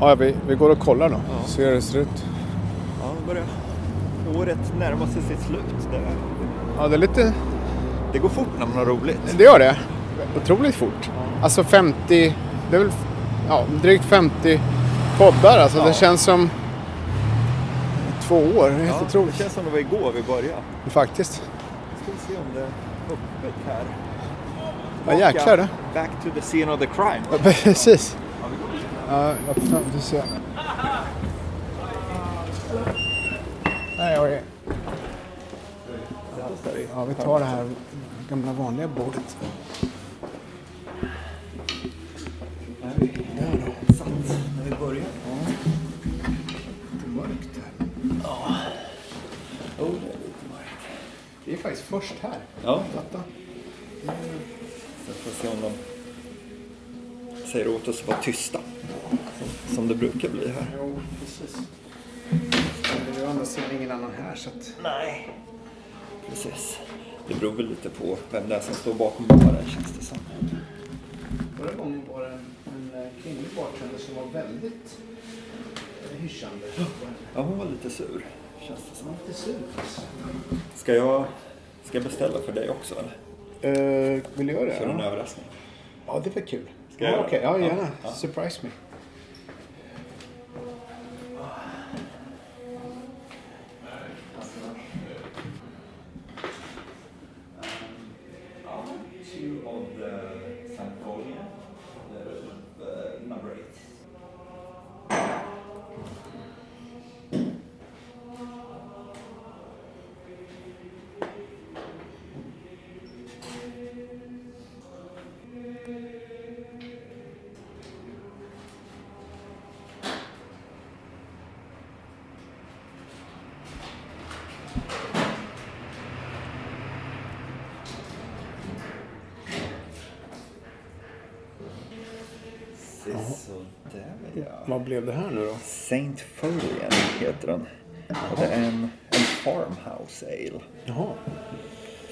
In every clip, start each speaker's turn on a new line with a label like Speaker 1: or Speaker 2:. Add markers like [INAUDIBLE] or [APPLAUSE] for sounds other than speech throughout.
Speaker 1: Ja, vi, vi går och kollar då. Ser hur det ser ut.
Speaker 2: Ja, det börjar året närma sig sitt slut. Det,
Speaker 1: Ja, det är lite...
Speaker 2: det går fort när man har roligt.
Speaker 1: Det gör det. Otroligt fort. Alltså 50... Det är väl ja, drygt 50 poddar. Alltså
Speaker 2: Ja.
Speaker 1: det känns som två år. Det är helt
Speaker 2: Ja, det
Speaker 1: otroligt.
Speaker 2: känns som det var igår vi började.
Speaker 1: Faktiskt.
Speaker 2: Nu ska vi se om det är öppet här.
Speaker 1: Ja, jäklar det.
Speaker 2: Back to the scene of the crime.
Speaker 1: Ja, precis. Ja, öppna. Vi ser. Nej, oj. Ja, vi tar det här gamla vanliga bordet.
Speaker 2: När vi börjar.
Speaker 1: Lite mörkt här.
Speaker 2: Oh, det är lite mörkt.
Speaker 1: Det är faktiskt först här.
Speaker 2: Ja,
Speaker 1: Fatta.
Speaker 2: så får vi se om de säger åt oss att vara tysta. Som, som det brukar bli här.
Speaker 1: Jo, precis. Men det är å andra sidan ingen annan här så att...
Speaker 2: Nej. Precis. Det beror väl lite på vem det är som står bakom baren känns det som.
Speaker 1: Förra gången var det en, en eh, kvinnlig bartender som var väldigt eh, hyschande.
Speaker 2: Ja, hon var lite sur känns det som.
Speaker 1: Lite sur.
Speaker 2: Ska jag, ska jag beställa för dig också eller?
Speaker 1: Uh, vill du göra det?
Speaker 2: För en
Speaker 1: Ja.
Speaker 2: överraskning.
Speaker 1: ja, det var kul.
Speaker 2: Ska jag
Speaker 1: ja,
Speaker 2: göra
Speaker 1: okej.
Speaker 2: det?
Speaker 1: Ja,
Speaker 2: Ja,
Speaker 1: gärna.
Speaker 2: ja.
Speaker 1: Surprise me.
Speaker 2: Two of the Sanfonia, the, the number eight. Sådär ja.
Speaker 1: Vad blev det här nu då?
Speaker 2: Saint Folian heter den. Och det är en, en farmhouse ale.
Speaker 1: Jaha.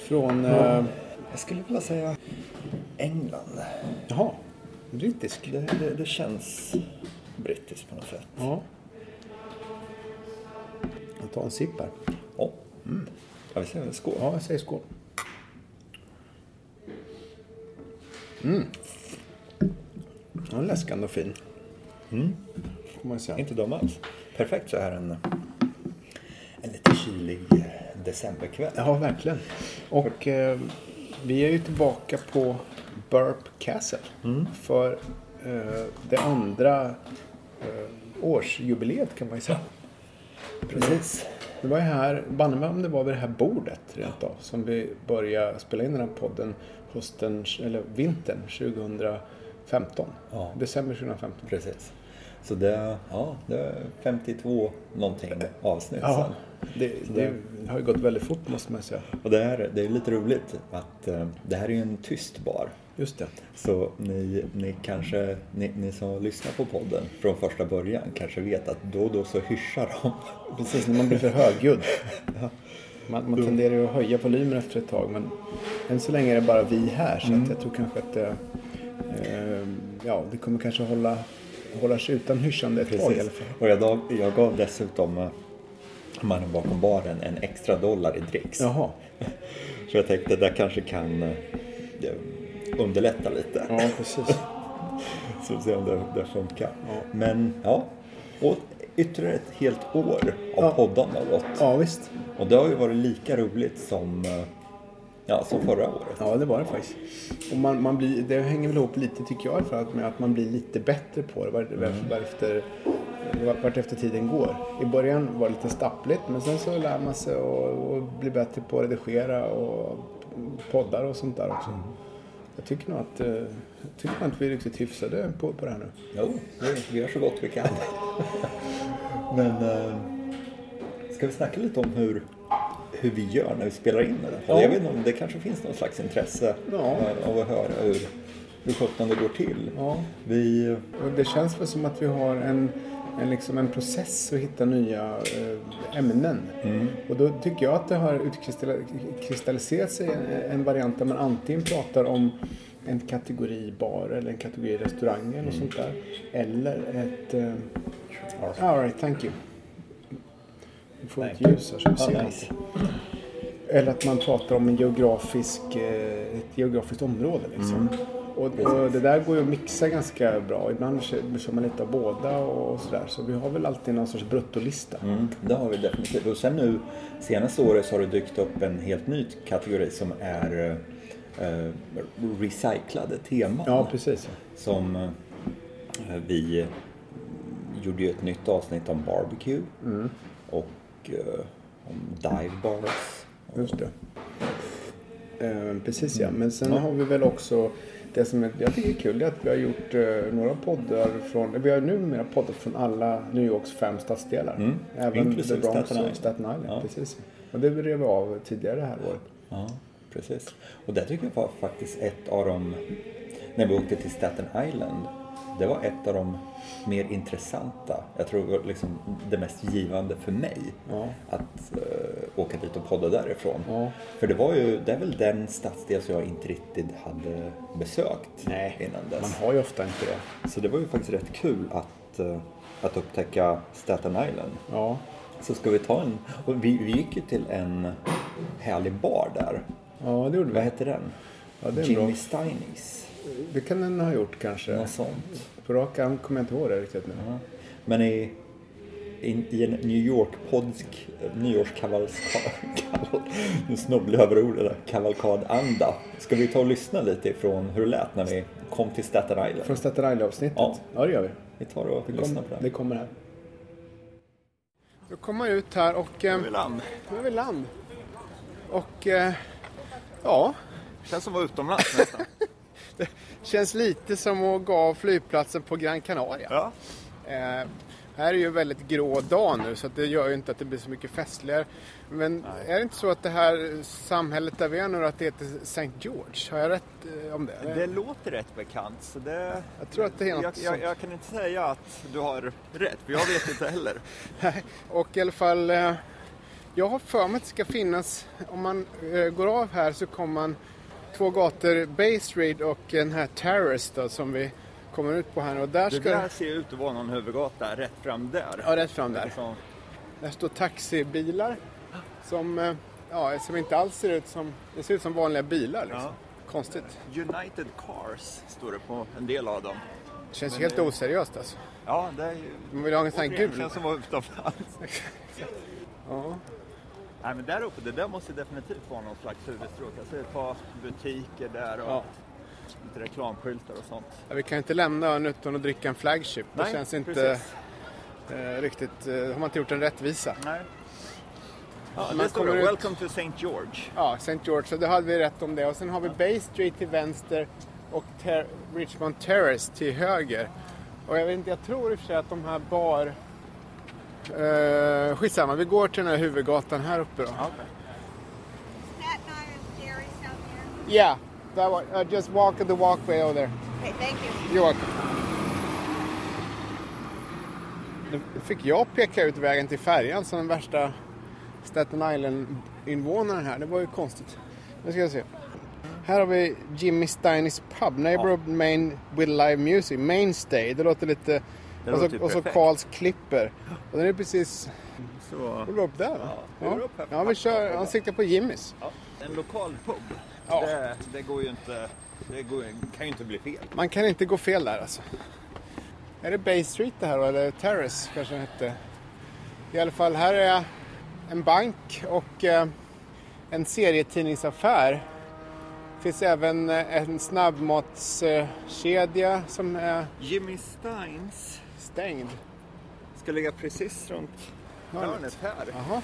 Speaker 1: Från... eh,
Speaker 2: Jag skulle vilja säga England.
Speaker 1: jaha. Brittisk.
Speaker 2: Det, det, det känns brittiskt på något sätt.
Speaker 1: Ja. Jag tar en sipp här.
Speaker 2: Ja. Mm. Jag vill säga en skål.
Speaker 1: Ja, jag säger skål. Mm. Den är läskande och fin. Mm. Får man säga.
Speaker 2: Inte dum alls. Perfekt så här en, en lite kylig decemberkväll.
Speaker 1: Ja, verkligen. Och eh, vi är ju tillbaka på Burp Castle för eh, det andra eh, årsjubileet kan man ju säga.
Speaker 2: Precis.
Speaker 1: Det var ju här, banne mig om det var vid det här bordet rent av, som vi började spela in den här podden hösten, eller vintern 2015.
Speaker 2: Ja.
Speaker 1: December 2015.
Speaker 2: Precis. Så det, ja, det är 52 någonting avsnitt
Speaker 1: Ja,
Speaker 2: sen.
Speaker 1: det, det har ju gått väldigt fort måste man säga.
Speaker 2: Och det här det är lite roligt att eh, det här är ju en tyst bar.
Speaker 1: Just det.
Speaker 2: Så ni, ni kanske, ni, ni som lyssnar på podden från första början kanske vet att då och då så hyschar de. [LAUGHS]
Speaker 1: Precis, när man blir för [LAUGHS] högljudd. Man, man tenderar ju att höja volymen efter ett tag men än så länge är det bara vi här så att jag tror kanske att det, eh, ja, det kommer kanske hålla, hålla sig utan hyschande ett tag i alla fall.
Speaker 2: Och jag, gav, jag gav dessutom eh, mannen bakom baren en extra dollar i dricks.
Speaker 1: Jaha,
Speaker 2: Så jag tänkte det där kanske kan eh, det underlätta lite.
Speaker 1: ja precis.
Speaker 2: Så vi får se om det, det funkar. Men ja, och ytterligare ett helt år av
Speaker 1: Ja.
Speaker 2: poddande har gått.
Speaker 1: Ja visst,
Speaker 2: Och det har ju varit lika roligt som, eh, ja, som förra året.
Speaker 1: ja det var det faktiskt. Och man, man blir, det hänger väl ihop lite tycker jag i alla fall med att man blir lite bättre på det var, varefter, vartefter tiden går. I början var det lite stappligt men sen så lär man sig och, och blir bättre på att redigera och poddar och sånt där också. Jag tycker nog att, eh, jag tycker nog att vi är riktigt hyfsade på, på det här nu.
Speaker 2: Jo, vi- vi gör så gott vi kan. [LAUGHS] Men eh, ska vi snacka lite om hur, hur vi gör när vi spelar in det?
Speaker 1: Ja.
Speaker 2: Jag vet inte om det kanske finns någon slags intresse
Speaker 1: Ja.
Speaker 2: eh, av att höra hur, hur sjutton det går till.
Speaker 1: Ja.
Speaker 2: Vi,
Speaker 1: Och det känns väl som att vi har en en, liksom en process att hitta nya eh, ämnen. Och då tycker jag att det har utkristalliserat sig en, en variant där man antingen pratar om en kategori bar eller en kategori restauranger och sånt där. Eller ett... Eh, all right, thank you. Vi får ett ljus här så vi
Speaker 2: Ah,
Speaker 1: ser. något.
Speaker 2: nice.
Speaker 1: Eller att man pratar om en geografisk, eh, ett geografiskt område. Liksom.
Speaker 2: Mm.
Speaker 1: Och, och det där går ju att mixa ganska bra. Ibland kö- kör man lite av båda och sådär. Så vi har väl alltid någon sorts bruttolista.
Speaker 2: Mm, det har vi definitivt. Och sen nu senaste året så har det dykt upp en helt ny kategori som är eh, recyclade teman.
Speaker 1: Ja, precis.
Speaker 2: Som eh, vi gjorde ju ett nytt avsnitt om barbecue
Speaker 1: Mm.
Speaker 2: och eh, om dive bars.
Speaker 1: Just det. Eh, precis ja,
Speaker 2: Mm.
Speaker 1: men sen har vi väl också det som är- jag tycker är kul är att vi har gjort eh, några poddar från, vi har numera poddar från alla New Yorks fem stadsdelar.
Speaker 2: Mm.
Speaker 1: Även The
Speaker 2: Inklusive
Speaker 1: Bronx
Speaker 2: Staten Island.
Speaker 1: och Staten Island.
Speaker 2: Ja.
Speaker 1: Precis. Och det rev vi av tidigare det här året.
Speaker 2: Ja, precis. Och det tycker jag var faktiskt ett av de, när vi åkte till Staten Island, det var ett av de mer intressanta, jag tror det var liksom det mest givande för mig,
Speaker 1: Ja.
Speaker 2: att eh, åka dit och podda därifrån.
Speaker 1: Ja.
Speaker 2: För det var ju, det är väl den stadsdel som jag inte riktigt hade besökt innan dess.
Speaker 1: man har ju ofta inte det.
Speaker 2: Så det var ju faktiskt rätt kul att, eh, att upptäcka Staten Island.
Speaker 1: Ja,
Speaker 2: Så ska vi ta en... Och vi, vi gick ju till en härlig bar där.
Speaker 1: ja det gjorde
Speaker 2: Vad
Speaker 1: vi.
Speaker 2: hette den?
Speaker 1: Ja, det är
Speaker 2: Jimmy
Speaker 1: bra.
Speaker 2: Steinis.
Speaker 1: Det kan den ha gjort kanske.
Speaker 2: Något sånt.
Speaker 1: På rak arm kommer jag inte ihåg det riktigt nu.
Speaker 2: Ja. Men i, i, i en New York-podsk nyårskavalkad... [LAUGHS] Nu snubblar jag över ordet där. Kavalkadanda. Ska vi ta och lyssna lite ifrån hur det lät när vi kom till Staten Island?
Speaker 1: Från Staten Island-avsnittet.
Speaker 2: Ja.
Speaker 1: ja, det gör vi.
Speaker 2: Vi tar och
Speaker 1: Det,
Speaker 2: lyssnar
Speaker 1: kom,
Speaker 2: på
Speaker 1: det
Speaker 2: den.
Speaker 1: kommer här. Då kommer jag ut här och... Eh,
Speaker 2: land.
Speaker 1: nu är vi i land. Och eh, ja,
Speaker 2: Känns som att vara utomlands [LAUGHS] nästan.
Speaker 1: känns lite som att gå av flygplatsen på Gran Canaria.
Speaker 2: ja.
Speaker 1: Eh, här är ju en väldigt grå dag nu så att det gör ju inte att det blir så mycket festligare. Men är det inte så att det här samhället där vi är nu att det heter St. George? Har jag rätt eh, om det? eller?
Speaker 3: Det låter rätt bekant, så det...
Speaker 1: Jag tror att det är något
Speaker 3: jag, jag, jag kan inte säga att du har rätt, för jag vet inte heller.
Speaker 1: [LAUGHS] Nej, och i alla fall, eh, jag har för mig att det ska finnas, om man eh, går av här så kommer man två gator, Bay Street och den här Terrace då som vi kommer ut på här nu. Och där
Speaker 3: Det
Speaker 1: ska
Speaker 3: där ser ut att vara någon huvudgata rätt fram där.
Speaker 1: Ja, rätt fram där.
Speaker 3: Så,
Speaker 1: Där står taxibilar som, eh, ja, som inte alls ser ut som, det ser ut som vanliga bilar liksom. Konstigt.
Speaker 3: United Cars står det på en del av dem.
Speaker 1: Det känns helt oseriöst alltså.
Speaker 3: Ja, det är ju...
Speaker 1: Man vill ha en sån här
Speaker 3: Återigen,
Speaker 1: gul.
Speaker 3: känns som att vara utomlands.
Speaker 1: [LAUGHS] Ja.
Speaker 3: Nej, men där uppe, det där måste definitivt vara någon slags huvudstråk. Jag ser ett par butiker där och
Speaker 1: Ja.
Speaker 3: lite reklamskyltar och sånt.
Speaker 1: Ja, Vi kan ju inte lämna ön utan att dricka en flagship. Det
Speaker 3: Nej,
Speaker 1: känns inte
Speaker 3: precis.
Speaker 1: eh, riktigt, eh, har man inte gjort en rättvisa.
Speaker 3: Nej. Ja,
Speaker 1: Man
Speaker 3: det står det.
Speaker 1: kommer ut-
Speaker 3: Welcome to St. George.
Speaker 1: Ja, St. George, så det hade vi rätt om det. Och sen har vi Bay Street till vänster och Ter- Richmond Terrace till höger. Och jag vet inte, jag tror i och för sig att de här bar... Eh, skitsamma, vi går till den här huvudgatan här uppe då. Ja,
Speaker 4: Staten Island Dairy, South America.
Speaker 1: yeah, that one, uh, just walk the walkway over there.
Speaker 4: Okay, thank you.
Speaker 1: You're welcome. Nu fick jag peka ut vägen till färjan som den värsta Staten Island-invånaren här. Det var ju konstigt. Nu ska vi se. Här har vi Jimmy Steinis Pub, Neighborhood Main with Live Music, Mainstay. Det låter typ lite...
Speaker 3: Det
Speaker 1: och så,
Speaker 3: låter ju
Speaker 1: och så
Speaker 3: perfekt.
Speaker 1: Karls Klipper. Och den är precis...
Speaker 3: Så...
Speaker 1: Går upp där va?
Speaker 3: Ja, går upp här.
Speaker 1: ja vi kör... Han siktar på Jimmys.
Speaker 3: Ja, en lokal pub,
Speaker 1: Ja.
Speaker 3: det, det går ju inte... Det går, kan ju inte bli fel.
Speaker 1: Man kan inte gå fel där alltså. Är det Bay Street det här då? Eller Terrace kanske den hette. I alla fall, här är en bank och eh, en serietidningsaffär. Det finns även eh, en snabbmatskedja som är
Speaker 3: Jimmy Steins
Speaker 1: stängd.
Speaker 3: ska ligga precis runt hörnet här.
Speaker 1: Jaha.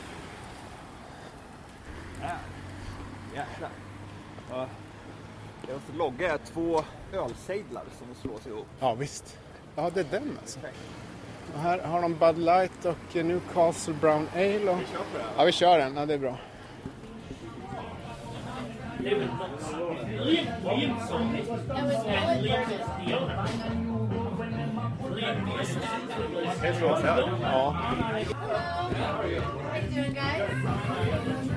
Speaker 3: Jäklar. Ja. Jag måste logga är två ölsejdlar som slås ihop.
Speaker 1: Ja, visst. Ja, det är den alltså. Och här har de Bud Light och eh, Newcastle Brown Ale. Och... Ja, vi kör den. Ja, det är bra.
Speaker 2: Kan slå oss här? Ja.
Speaker 4: How you doing, guys?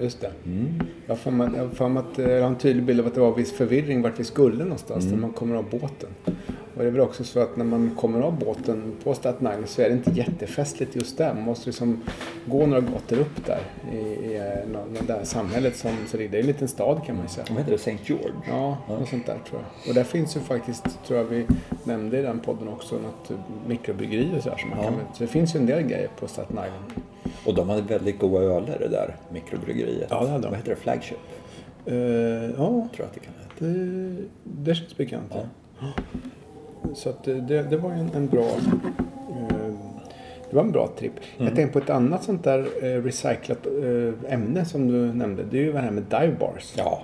Speaker 1: Just det. Jag har för mig- jag har för mig att, eh, jag har en tydlig bild av att det var viss förvirring vart vi skulle någonstans när man kommer av båten. Och det är väl också så att när man kommer av båten på Staten Island så är det inte jättefestligt just där. Man måste liksom gå några gator upp där i, i eh, nå- nå- det här samhället som så det det är en liten stad kan man ju säga.
Speaker 5: Vad heter det? St. George?
Speaker 1: Ja, något sånt där tror jag. Och där finns ju faktiskt, tror jag vi nämnde i den podden också, något mikrobryggeri och sådär. som man
Speaker 5: Ja.
Speaker 1: kan, så det finns ju en del grejer på Staten Island.
Speaker 5: Och de hade väldigt goda öler det där mikrobryggeriet.
Speaker 1: Ja, det hade de.
Speaker 5: Vad heter det? Flagship?
Speaker 1: Eh, ja,
Speaker 5: Tror jag att det kan heta.
Speaker 1: Det, eh, det känns bekant. Ja. Så att eh, det, det var ju en, en bra... eh, Det var en bra tripp. Jag tänkte på ett annat sånt där eh, recyclat eh, ämne som du nämnde. Det är ju det här med dive bars.
Speaker 5: Ja,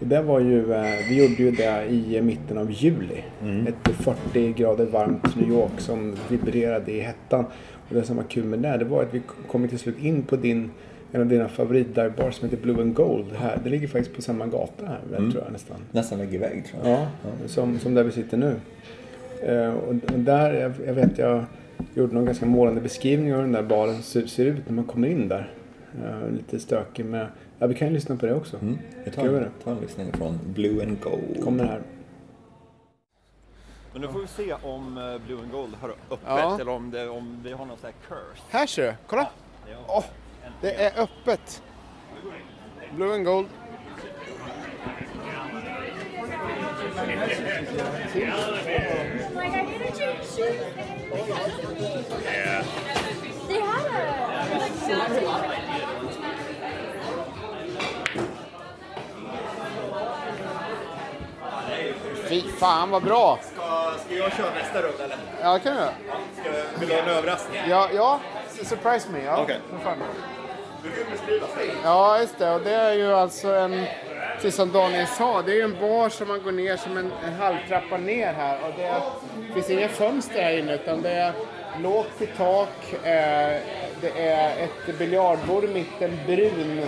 Speaker 1: Och det var ju, eh, vi gjorde ju det i eh, mitten av juli. Ett 40 grader varmt New York som vibrerade i hettan. Och det som var kul med det, här, det var att vi kom till slut in på din, en av dina favoritdivebarer som heter Blue and Gold. Här. Det ligger faktiskt på samma gata här, tror jag nästan.
Speaker 5: nästan vägg i vägg tror jag.
Speaker 1: Ja, som, som där vi sitter nu. Eh, och, och där, jag, jag vet jag gjorde någon ganska målande beskrivning av hur den där baren ser, ser ut när man kommer in där. Eh, lite stökig med, ja vi kan ju lyssna på det också.
Speaker 5: Mm. Vi tar,
Speaker 1: Ska vi göra
Speaker 5: en- tar en lyssning från Blue and Gold.
Speaker 1: Kommer här.
Speaker 2: Men nu får vi se om eh, Blue and Gold har öppet
Speaker 1: Ja.
Speaker 2: eller om, det, om vi har någon sån här curse.
Speaker 1: Här ser du, kolla!
Speaker 2: Ja.
Speaker 1: Åh, det är öppet. Blue and gold.
Speaker 4: Like, I need to change shoes. Yeah. They had a like,
Speaker 1: Fy fan vad bra!
Speaker 2: Ska, ska jag köra nästa runda eller?
Speaker 1: Ja, det kan du
Speaker 2: Ska, vill du ha en överraskning?
Speaker 1: Ja, ja. surprise me. Ja.
Speaker 2: Okej.
Speaker 1: För fan.
Speaker 2: Du kan beskriva.
Speaker 1: Ja, just det. Och det är ju alltså en, precis som Daniel sa, det är ju en bar som man går ner som en, en halvtrappa ner här. Och det, är, det finns inga fönster här inne utan det är lågt i tak. Eh, det är ett biljardbord i mitten, brun,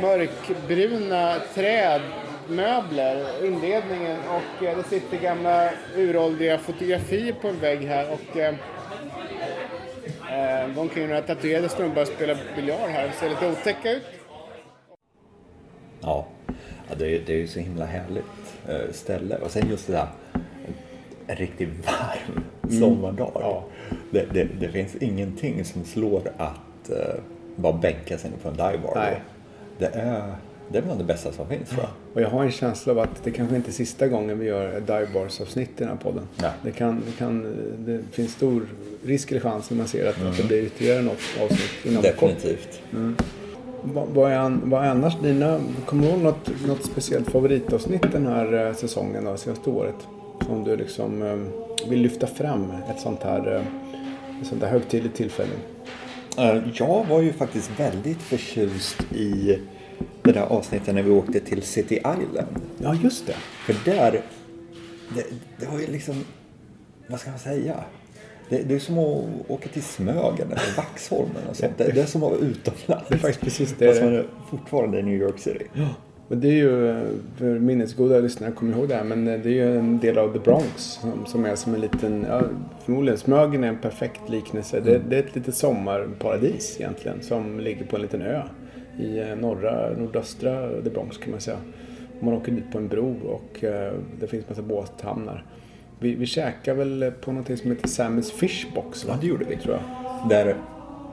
Speaker 1: mörkbruna trädmöbler, inredningen. Och eh, det sitter gamla uråldriga fotografier på en vägg här. Och, eh, eh, de kan ju några tatuerade snubbar spela biljard här och ser lite otäcka ut.
Speaker 5: Ja, ja det, är, det är ju så himla härligt eh, ställe. Och sen just det där, en, en riktigt varm sommardag.
Speaker 1: Mm. ja.
Speaker 5: Det, det, det finns ingenting som slår att eh, bara bänka sig på en divebar.
Speaker 1: Nej.
Speaker 5: Det är, det är bland det bästa som finns tror jag.
Speaker 1: Och jag har en känsla av att det kanske inte är sista gången vi gör ett dive bars avsnitt i den här podden.
Speaker 5: Nej.
Speaker 1: Det, kan, det, kan, det finns stor risk eller chans när man ser att, att det blir ytterligare något avsnitt inom kort.
Speaker 5: Definitivt.
Speaker 1: Vad, vad, är, an- vad är annars dina, kommer du ihåg något, något speciellt favoritavsnitt den här eh, säsongen då, senaste året? Som du liksom eh, vill lyfta fram ett sånt här, eh, ett sånt här högtidligt tillfälle?
Speaker 5: Eh, Jag var ju faktiskt väldigt förtjust i det där avsnittet när vi åkte till City Island.
Speaker 1: Ja, just det.
Speaker 5: För där, det, det var ju liksom, vad ska man säga? Det, det är som att åka till Smögen eller Vaxholmen och sånt. Det, det är som att vara utomlands.
Speaker 1: Det är faktiskt precis det.
Speaker 5: Fast man är fortfarande i New York City.
Speaker 1: Men det är ju, eh, för minnesgoda lyssnare kommer ihåg det här, men eh, det är ju en del av The Bronx som, som är som en liten, ja, förmodligen Smögen är en perfekt liknelse. Det,
Speaker 5: Mm.
Speaker 1: det är ett litet sommarparadis egentligen som ligger på en liten ö i eh, norra, nordöstra The Bronx kan man säga. Man åker dit på en bro och eh, det finns massa båthamnar. Vi, vi käkar väl på någonting som heter Sammys Fishbox? Va?
Speaker 5: Ja, det gjorde vi.
Speaker 1: tror jag.
Speaker 5: Där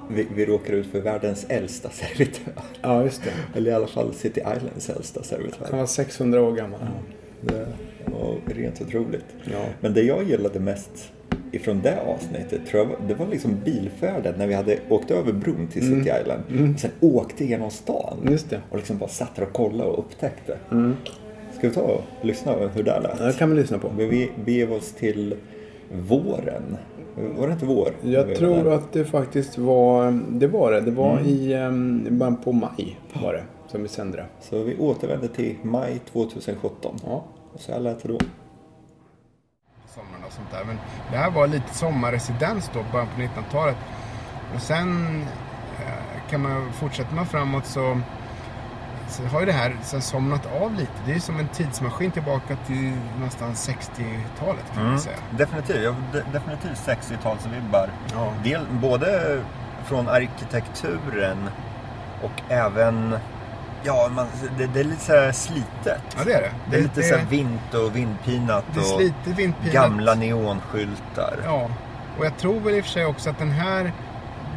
Speaker 5: vi, vi råkar ut för världens äldsta servitör.
Speaker 1: Ja, just det.
Speaker 5: Eller i alla fall City Islands äldsta
Speaker 1: Han
Speaker 5: servitör.
Speaker 1: var 600 år gammal.
Speaker 5: Det var rent otroligt.
Speaker 1: Ja.
Speaker 5: Men det jag gillade mest ifrån det avsnittet, tror jag, var- det var liksom bilfärden när vi hade åkt över bron till City Island och sen åkte genom stan
Speaker 1: Mm. Just det. Mm.
Speaker 5: och liksom bara satt där och kollade och upptäckte. Ska vi ta och lyssna på hur det
Speaker 1: Ja, Det
Speaker 5: lät?
Speaker 1: kan vi lyssna på.
Speaker 5: Men Vi begav oss till våren. Var det inte vår?
Speaker 1: Jag
Speaker 5: Vi var
Speaker 1: tror
Speaker 5: där. Mm.
Speaker 1: att det faktiskt var, det var det. Det var i em, början på maj var det som vi sände det.
Speaker 5: Så vi återvände till maj 2017.
Speaker 1: Ja.
Speaker 5: Och så här lät det då.
Speaker 1: Sommaren och sånt där. Men det här var lite sommarresidens då, början på 1900-talet. Och sen eh, kan man fortsätta man framåt så Sen har ju det här sen somnat av lite. Det är ju som en tidsmaskin tillbaka till nästan 60-talet kan
Speaker 5: Mm.
Speaker 1: man säga.
Speaker 5: Definitivt, jag har de, definitivt 60-talsvibbar.
Speaker 1: Ja.
Speaker 5: Del, både från arkitekturen och även, ja, man, det, det är lite så här slitet.
Speaker 1: Ja, det är det.
Speaker 5: Det är lite så här
Speaker 1: det,
Speaker 5: vint och vindpinat
Speaker 1: det är
Speaker 5: och
Speaker 1: slite vindpinat.
Speaker 5: gamla neonskyltar.
Speaker 1: Ja, och jag tror väl i och för sig också att den här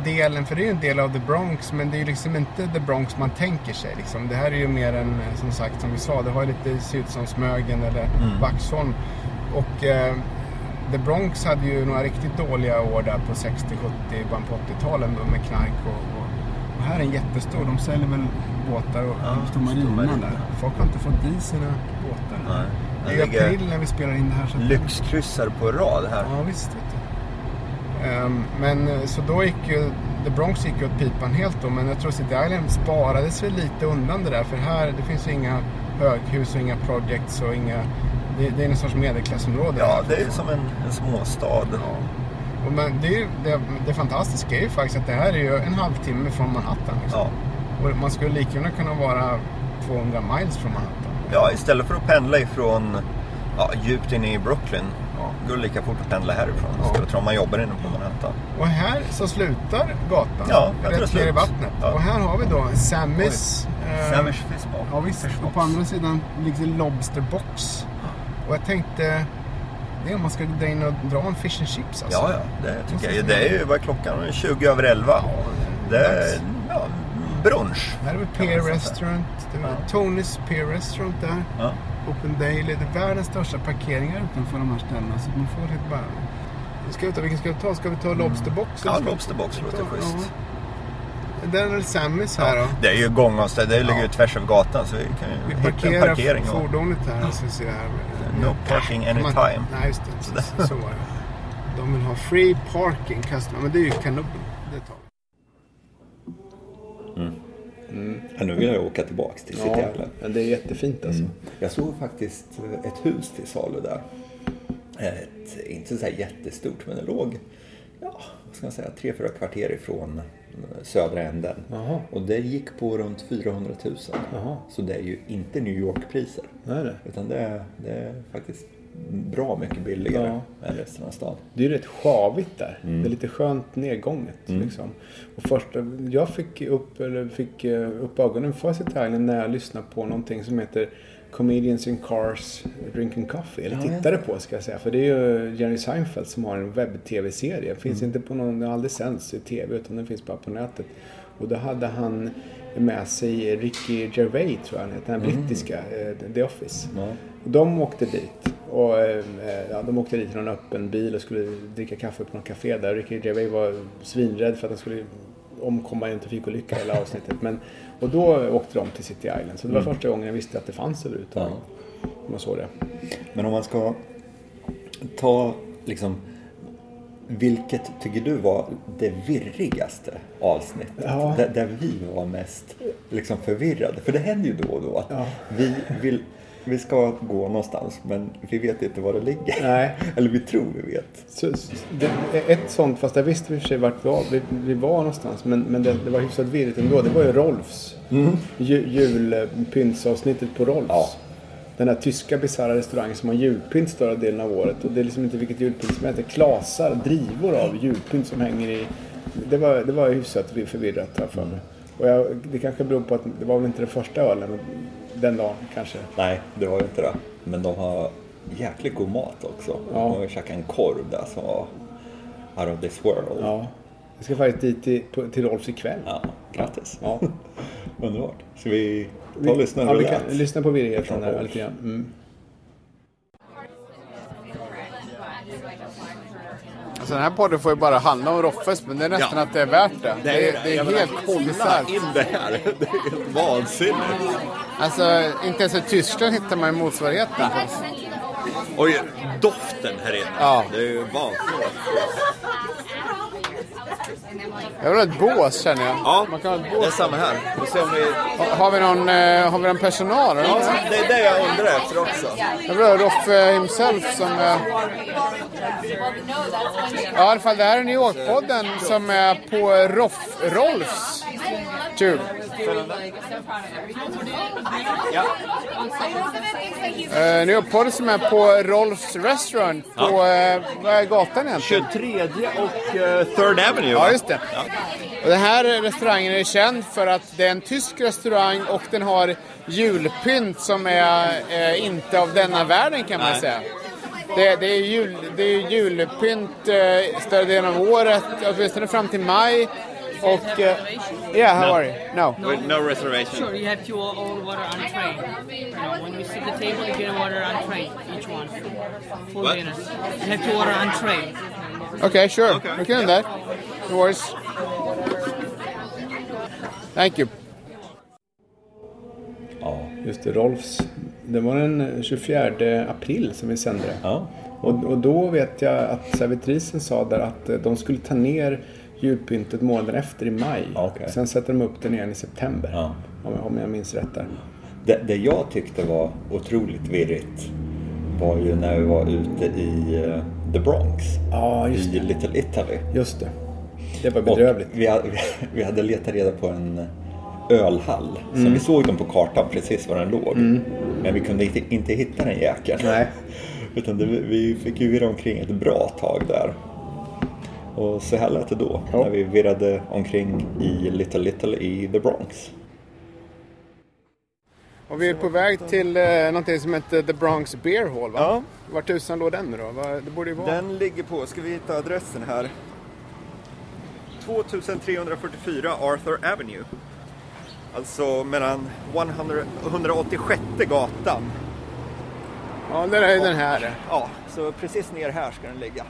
Speaker 1: delen, för det är ju en del av The Bronx, men det är ju liksom inte The Bronx man tänker sig. Liksom. Det här är ju mer en, eh, som sagt, som vi sa, det har ju lite, ser ut som Smögen eller
Speaker 5: Mm.
Speaker 1: Vaxholm. Och eh, The Bronx hade ju några riktigt dåliga år där på 60, 70, början på 80-talen då med knark och, och och här är en jättestor, de säljer väl båtar och
Speaker 5: Ja,
Speaker 1: de stora
Speaker 5: stora
Speaker 1: marinan
Speaker 5: marinan.
Speaker 1: där. Folk har inte fått i sina båtar.
Speaker 5: Nej.
Speaker 1: Det är
Speaker 5: Den
Speaker 1: ju
Speaker 5: ligger-
Speaker 1: april när vi spelar in det här. Så att-
Speaker 5: Lyxkryssar på rad här.
Speaker 1: Ja, visst. Vet du. Ehm, men eh, så då gick ju The Bronx gick ju åt pipan helt då, men jag tror City Island sparades väl lite undan det där, för här det finns ju inga höghus och inga projects och inga... Det, det är någon sorts medelklassområde.
Speaker 5: Ja,
Speaker 1: här.
Speaker 5: det är ju som en, en småstad.
Speaker 1: Ja. Och men det, är ju, det, det fantastiska är ju faktiskt att det här är ju en halvtimme från Manhattan. Liksom.
Speaker 5: Ja.
Speaker 1: Och man skulle lika gärna kunna vara 200 miles från Manhattan.
Speaker 5: ja, istället för att pendla ifrån ja, djupt inne i Brooklyn
Speaker 1: Ja.
Speaker 5: går det lika fort att pendla härifrån.
Speaker 1: Ja.
Speaker 5: Istället för om man jobbar inne på Manhattan.
Speaker 1: Och här så slutar gatan.
Speaker 5: Ja, jag tror det
Speaker 1: rätt ner i
Speaker 5: slut.
Speaker 1: vattnet.
Speaker 5: Ja.
Speaker 1: Och här har vi då Sammys. eh,
Speaker 5: Samish Fishbowl.
Speaker 1: Ja visst, och på andra sidan ligger det Lobsterbox. Och jag tänkte, det är om man ska dra in och dra en fish and chips alltså.
Speaker 5: Ja, ja, det tycker jag. Det är ju, vad är klockan? Det är 20 över 11.
Speaker 1: det
Speaker 5: Det
Speaker 1: är
Speaker 5: är
Speaker 1: dags.
Speaker 5: ja, brunch.
Speaker 1: Här är väl
Speaker 5: kan man
Speaker 1: Pier
Speaker 5: säga.
Speaker 1: Restaurant, det var
Speaker 5: Ja.
Speaker 1: Tonys Pier Restaurant där.
Speaker 5: Ja.
Speaker 1: Open Daily, det är världens största parkeringar utanför de här ställena. Så man får helt bara... Nu Ska vi ta, vilken ska vi ta? Ska vi ta Lobsterbox?
Speaker 5: Mm. Ja,
Speaker 1: eller ska-
Speaker 5: Lobsterbox låter
Speaker 1: Ja.
Speaker 5: schysst.
Speaker 1: Den är Sammys här då.
Speaker 5: Det är ju gångavstånd. Det ligger ju tvärs över gatan så vi kan ju
Speaker 1: Vi
Speaker 5: hitta en
Speaker 1: parkerar
Speaker 5: parkering. och-
Speaker 1: fordonet här. Så vi ser här.
Speaker 5: No parking anytime.
Speaker 1: Man, nej, just det. Så, så, var det. De vill ha free parking, customer. Men det är ju kanon. Det tar vi.
Speaker 5: Ja, nu vill jag åka tillbaks till City Island.
Speaker 1: men det är jättefint alltså.
Speaker 5: Jag såg faktiskt ett hus till salu där. Ett, inte så här jättestort, men det låg ja, vad ska man säga, tre, fyra kvarter ifrån eh, södra änden.
Speaker 1: Jaha.
Speaker 5: Och det gick på runt 400 000.
Speaker 1: Jaha.
Speaker 5: Så det är ju inte New York-priser.
Speaker 1: Nej, det.
Speaker 5: Utan det är, det är faktiskt bra mycket billigare
Speaker 1: Ja.
Speaker 5: än resten av stan.
Speaker 1: Det är ju rätt sjavigt där. Det är lite skönt nedgånget. Liksom. Och första, jag fick upp, eller fick eh, upp ögonen för City Island när jag lyssnade på någonting som heter Comedians in Cars Drinking Coffee. Eller
Speaker 5: Ja, jag
Speaker 1: tittade på ska jag säga. För det är ju Jerry Seinfeld som har en webb-tv-serie. Finns inte på någon, den har aldrig sänds i tv utan den finns bara på nätet. Och då hade han med sig Ricky Gervais tror jag han heter, den här brittiska, eh, The Office. Och De åkte dit. Och, eh, ja, de åkte dit i någon öppen bil och skulle dricka kaffe på något café där. Ricky Gervais var svinrädd för att han skulle omkomma i en trafikolycka hela avsnittet. Men, och då åkte de till City Island. Så det var första gången jag visste att det fanns överhuvudtaget. Om jag såg det.
Speaker 5: Men om man ska ta liksom vilket tycker du var det virrigaste avsnittet?
Speaker 1: Ja.
Speaker 5: Där, där vi var mest liksom förvirrade. För det händer ju då och då att
Speaker 1: Ja.
Speaker 5: vi, vill, vi ska gå någonstans men vi vet inte var det ligger.
Speaker 1: Nej.
Speaker 5: Eller vi tror vi vet.
Speaker 1: Så, så- det, ett sånt, fast jag visste i och för sig vart vi var, vi, vi var någonstans, men, men det, det var hyfsat virrigt ändå. Det var ju Rolfs. Ju, julpyntsavsnittet på Rolfs.
Speaker 5: Mm. Ja.
Speaker 1: Den där tyska bisarra restaurangen som har julpynt större delen av året. Och det är liksom inte vilket julpynt som heter. Klasar, drivor av julpynt som hänger i... Det var, det var hyfsat förvirrat här för mig. Och jag, det kanske beror på att det var väl inte den första ölen den dagen kanske.
Speaker 5: Nej, det var ju inte det. Men de har jäkligt god mat också.
Speaker 1: Ja.
Speaker 5: De har ju käkat en korv där som var out of this world.
Speaker 1: Ja. Jag ska faktiskt dit till, på, till Rolfs ikväll.
Speaker 5: Ja, grattis.
Speaker 1: Ja.
Speaker 5: [LAUGHS] Underbart. Ska vi ta och lyssna hur
Speaker 1: vi
Speaker 5: det
Speaker 1: kan
Speaker 5: lät?
Speaker 1: lyssna på virrigheten
Speaker 5: Från
Speaker 1: där
Speaker 5: Rolf.
Speaker 1: lite grann. Mm. Alltså den här podden får ju bara handla om Roffes, men det är nästan att det är värt det. Det är, det är helt bisarrt.
Speaker 5: in det här. Det är helt vansinnigt.
Speaker 1: Alltså, inte ens i Tyskland hittar man ju motsvarigheten.
Speaker 5: Oj, doften här inne.
Speaker 1: Ja.
Speaker 5: Det är ju vansinnigt.
Speaker 1: Jag vill ha ett bås känner jag.
Speaker 5: Ja,
Speaker 1: Man kan ha ett
Speaker 5: det
Speaker 1: bås.
Speaker 5: är samma här. Vi får se om vi...
Speaker 1: Ha- Har vi någon, eh, har vi någon personal? eller?
Speaker 5: Ja, det är det jag undrar efter också.
Speaker 1: Jag vill ha Roffe himself som... eh, Ja, i alla fall det här är New York-podden som är på Roff, Rolfs
Speaker 6: Dude. Eh, nu är jag på det som är på Rolfs restaurant på, eh, vad är gatan egentligen?
Speaker 2: 23 och eh, Third Avenue.
Speaker 6: Ja,
Speaker 2: va?
Speaker 6: just det. Och den här restaurangen är känd för att det är en tysk restaurang och den har julpynt som är eh, inte av denna världen kan man
Speaker 2: Nej.
Speaker 6: säga. Det, det, är jul, det är julpynt eh, större delen av året, åtminstone fram till maj. Och... Eh, yeah, how are you? No.
Speaker 2: With no reservation.
Speaker 7: Sure, you have to all, all order on a train. You know, when you sit at the table, you get an order on train, each one. Full
Speaker 2: What?
Speaker 7: dinner. You have to order on train.
Speaker 6: Okay, sure.
Speaker 2: Okay.
Speaker 6: We can do that. No worries. Thank you.
Speaker 5: Ja.
Speaker 6: Just det, Rolfs. Det var den 24 april som vi sände det.
Speaker 5: ja.
Speaker 6: Och, och då vet jag att servitrisen sa där att eh, de skulle ta ner julpyntet månaden efter i maj.
Speaker 5: Okej.
Speaker 6: Sen sätter de upp den igen i september.
Speaker 5: Ja.
Speaker 6: Om, jag, om jag minns rätt där.
Speaker 5: Det, det jag tyckte var otroligt virrigt var ju när vi var ute i eh, The Bronx.
Speaker 6: Ja, just
Speaker 5: I
Speaker 6: det.
Speaker 5: Little Italy.
Speaker 6: Just det. Det var
Speaker 5: Och
Speaker 6: bedrövligt.
Speaker 5: Vi, hade, [LAUGHS] vi hade letat reda på en ölhall. Så
Speaker 6: Mm.
Speaker 5: vi såg den på kartan precis var den låg. Men vi kunde inte, inte hitta den jäkeln.
Speaker 6: Nej.
Speaker 5: [LAUGHS] Utan det, vi fick ju virra omkring ett bra tag där. Och så här lät det då.
Speaker 6: Ja.
Speaker 5: När vi virrade omkring i Little Little i The Bronx.
Speaker 6: Och vi är på väg till eh, någonting som heter The Bronx Beer Hall va?
Speaker 2: Ja.
Speaker 6: Var tusan låg den då? Va- Det borde ju vara...
Speaker 2: Den ligger på, ska vi hitta adressen här? 2344 Arthur Avenue. Alltså mellan 100, 186 gatan.
Speaker 6: Ja, där är ju den här.
Speaker 2: Ja, så precis ner här ska den ligga.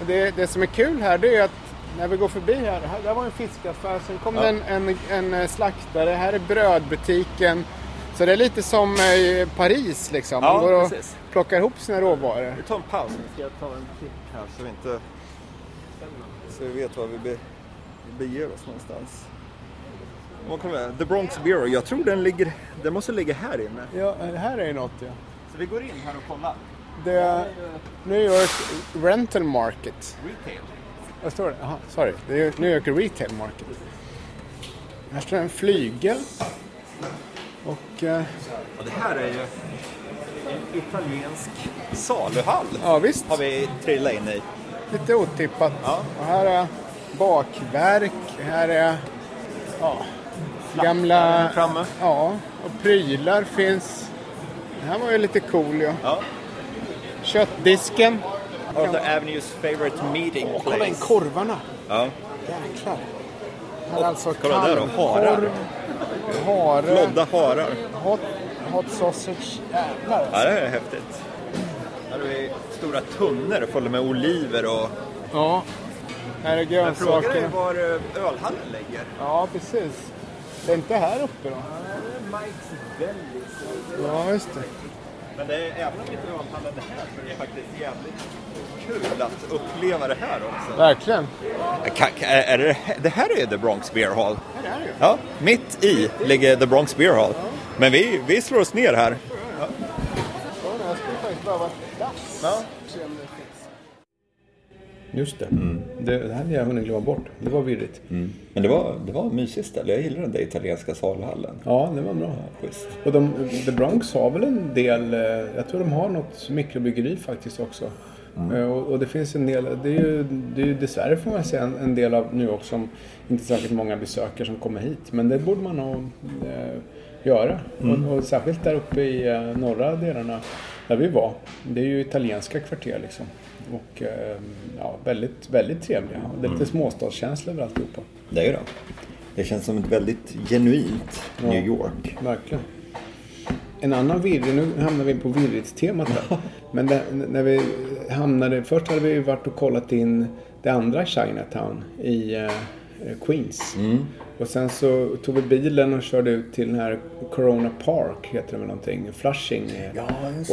Speaker 6: Och Det, det som är kul här det är att när vi går förbi här, här där var en fiskaffär, sen kom det en, en, en eh, slaktare, här är brödbutiken. Så det är lite som eh, Paris liksom.
Speaker 2: Ja,
Speaker 6: Man går och
Speaker 2: precis.
Speaker 6: plockar ihop sina råvaror.
Speaker 2: Vi tar en paus nu. Ska jag ta en titt här så vi inte... Så vi vet var vi, be, vi beger oss någonstans. Var kommer jag? The Bronx Bureau. Jag tror den ligger... Den måste ligga här inne.
Speaker 6: Ja, det här är ju något ja.
Speaker 2: Så vi går in här och kollar.
Speaker 6: Det är New York Rental Market.
Speaker 2: Retail.
Speaker 6: Vad står det? Jaha, sorry. Det är New York Retail Market. Här står en flygel. Och eh,
Speaker 2: Och det här är ju en italiensk saluhall.
Speaker 6: ja visst,
Speaker 2: Har vi trillat in i.
Speaker 6: lite otippat.
Speaker 2: Ja.
Speaker 6: Och här är bakverk, här är ja, gamla...
Speaker 2: framme.
Speaker 6: Ja, och prylar finns. Det här var ju lite cool ju.
Speaker 2: Ja.
Speaker 6: Köttdisken.
Speaker 2: Arthur Avenues favorite meeting
Speaker 6: Och kolla in
Speaker 2: place.
Speaker 6: korvarna.
Speaker 2: Ja.
Speaker 6: Jäklar. Här är alltså
Speaker 5: kolla där då, harar.
Speaker 6: kalvkorv, hare,
Speaker 2: Blonda harar.
Speaker 6: hot, hot sausage. Jävlar.
Speaker 2: Ja, det här är häftigt. Här har vi stora tunnor fulla med oliver och...
Speaker 6: Ja. Här är
Speaker 2: Men frågan är
Speaker 6: grönsaker.
Speaker 2: var eh, ölhallen ligger.
Speaker 6: Ja, precis. Det är inte här uppe då?
Speaker 2: Mike's Deli.
Speaker 6: Ja, just det.
Speaker 2: Men det är, även om inte ölhallen är här så är det faktiskt jävligt kul att uppleva det här också.
Speaker 6: Verkligen.
Speaker 2: Är det, det här är The Bronx Beer Hall.
Speaker 6: Här är det ju.
Speaker 2: Ja, mitt i ligger The Bronx Beer Hall. Men vi, vi slår oss ner här.
Speaker 6: Ja, det här skulle faktiskt behöva ett dass.
Speaker 2: Ja.
Speaker 6: Se om det finns.
Speaker 1: Just det. Mm. det. Det här hade jag hunnit glömma bort. Det var virrigt.
Speaker 5: Men det var, det var mysigt ställe. Jag gillar den där italienska salhallen.
Speaker 1: Ja, det var bra.
Speaker 5: Schysst.
Speaker 1: Och de, The Bronx har väl en del, eh, jag tror de har något mikrobryggeri faktiskt också. Eh, Och, och det finns en del, det är ju, det är ju dessvärre får man säga en, en del av New York som inte särskilt många besökare som kommer hit. Men det borde man nog eh, göra. Och, och särskilt där uppe i eh, norra delarna där vi var. Det är ju italienska kvarter liksom. Och eh, ja, väldigt, väldigt trevliga. Det är lite småstadskänsla över alltihopa.
Speaker 5: Det är ju det. Det känns som ett väldigt genuint New York.
Speaker 1: Verkligen. En annan virrig, nu hamnar vi på virrigt-temat här. Men där, när vi hamnade, först hade vi ju varit och kollat in det andra Chinatown i eh, Queens.
Speaker 5: Mm.
Speaker 1: Och sen så tog vi bilen och körde ut till den här Corona Park, heter det väl någonting, Flushing. Ja,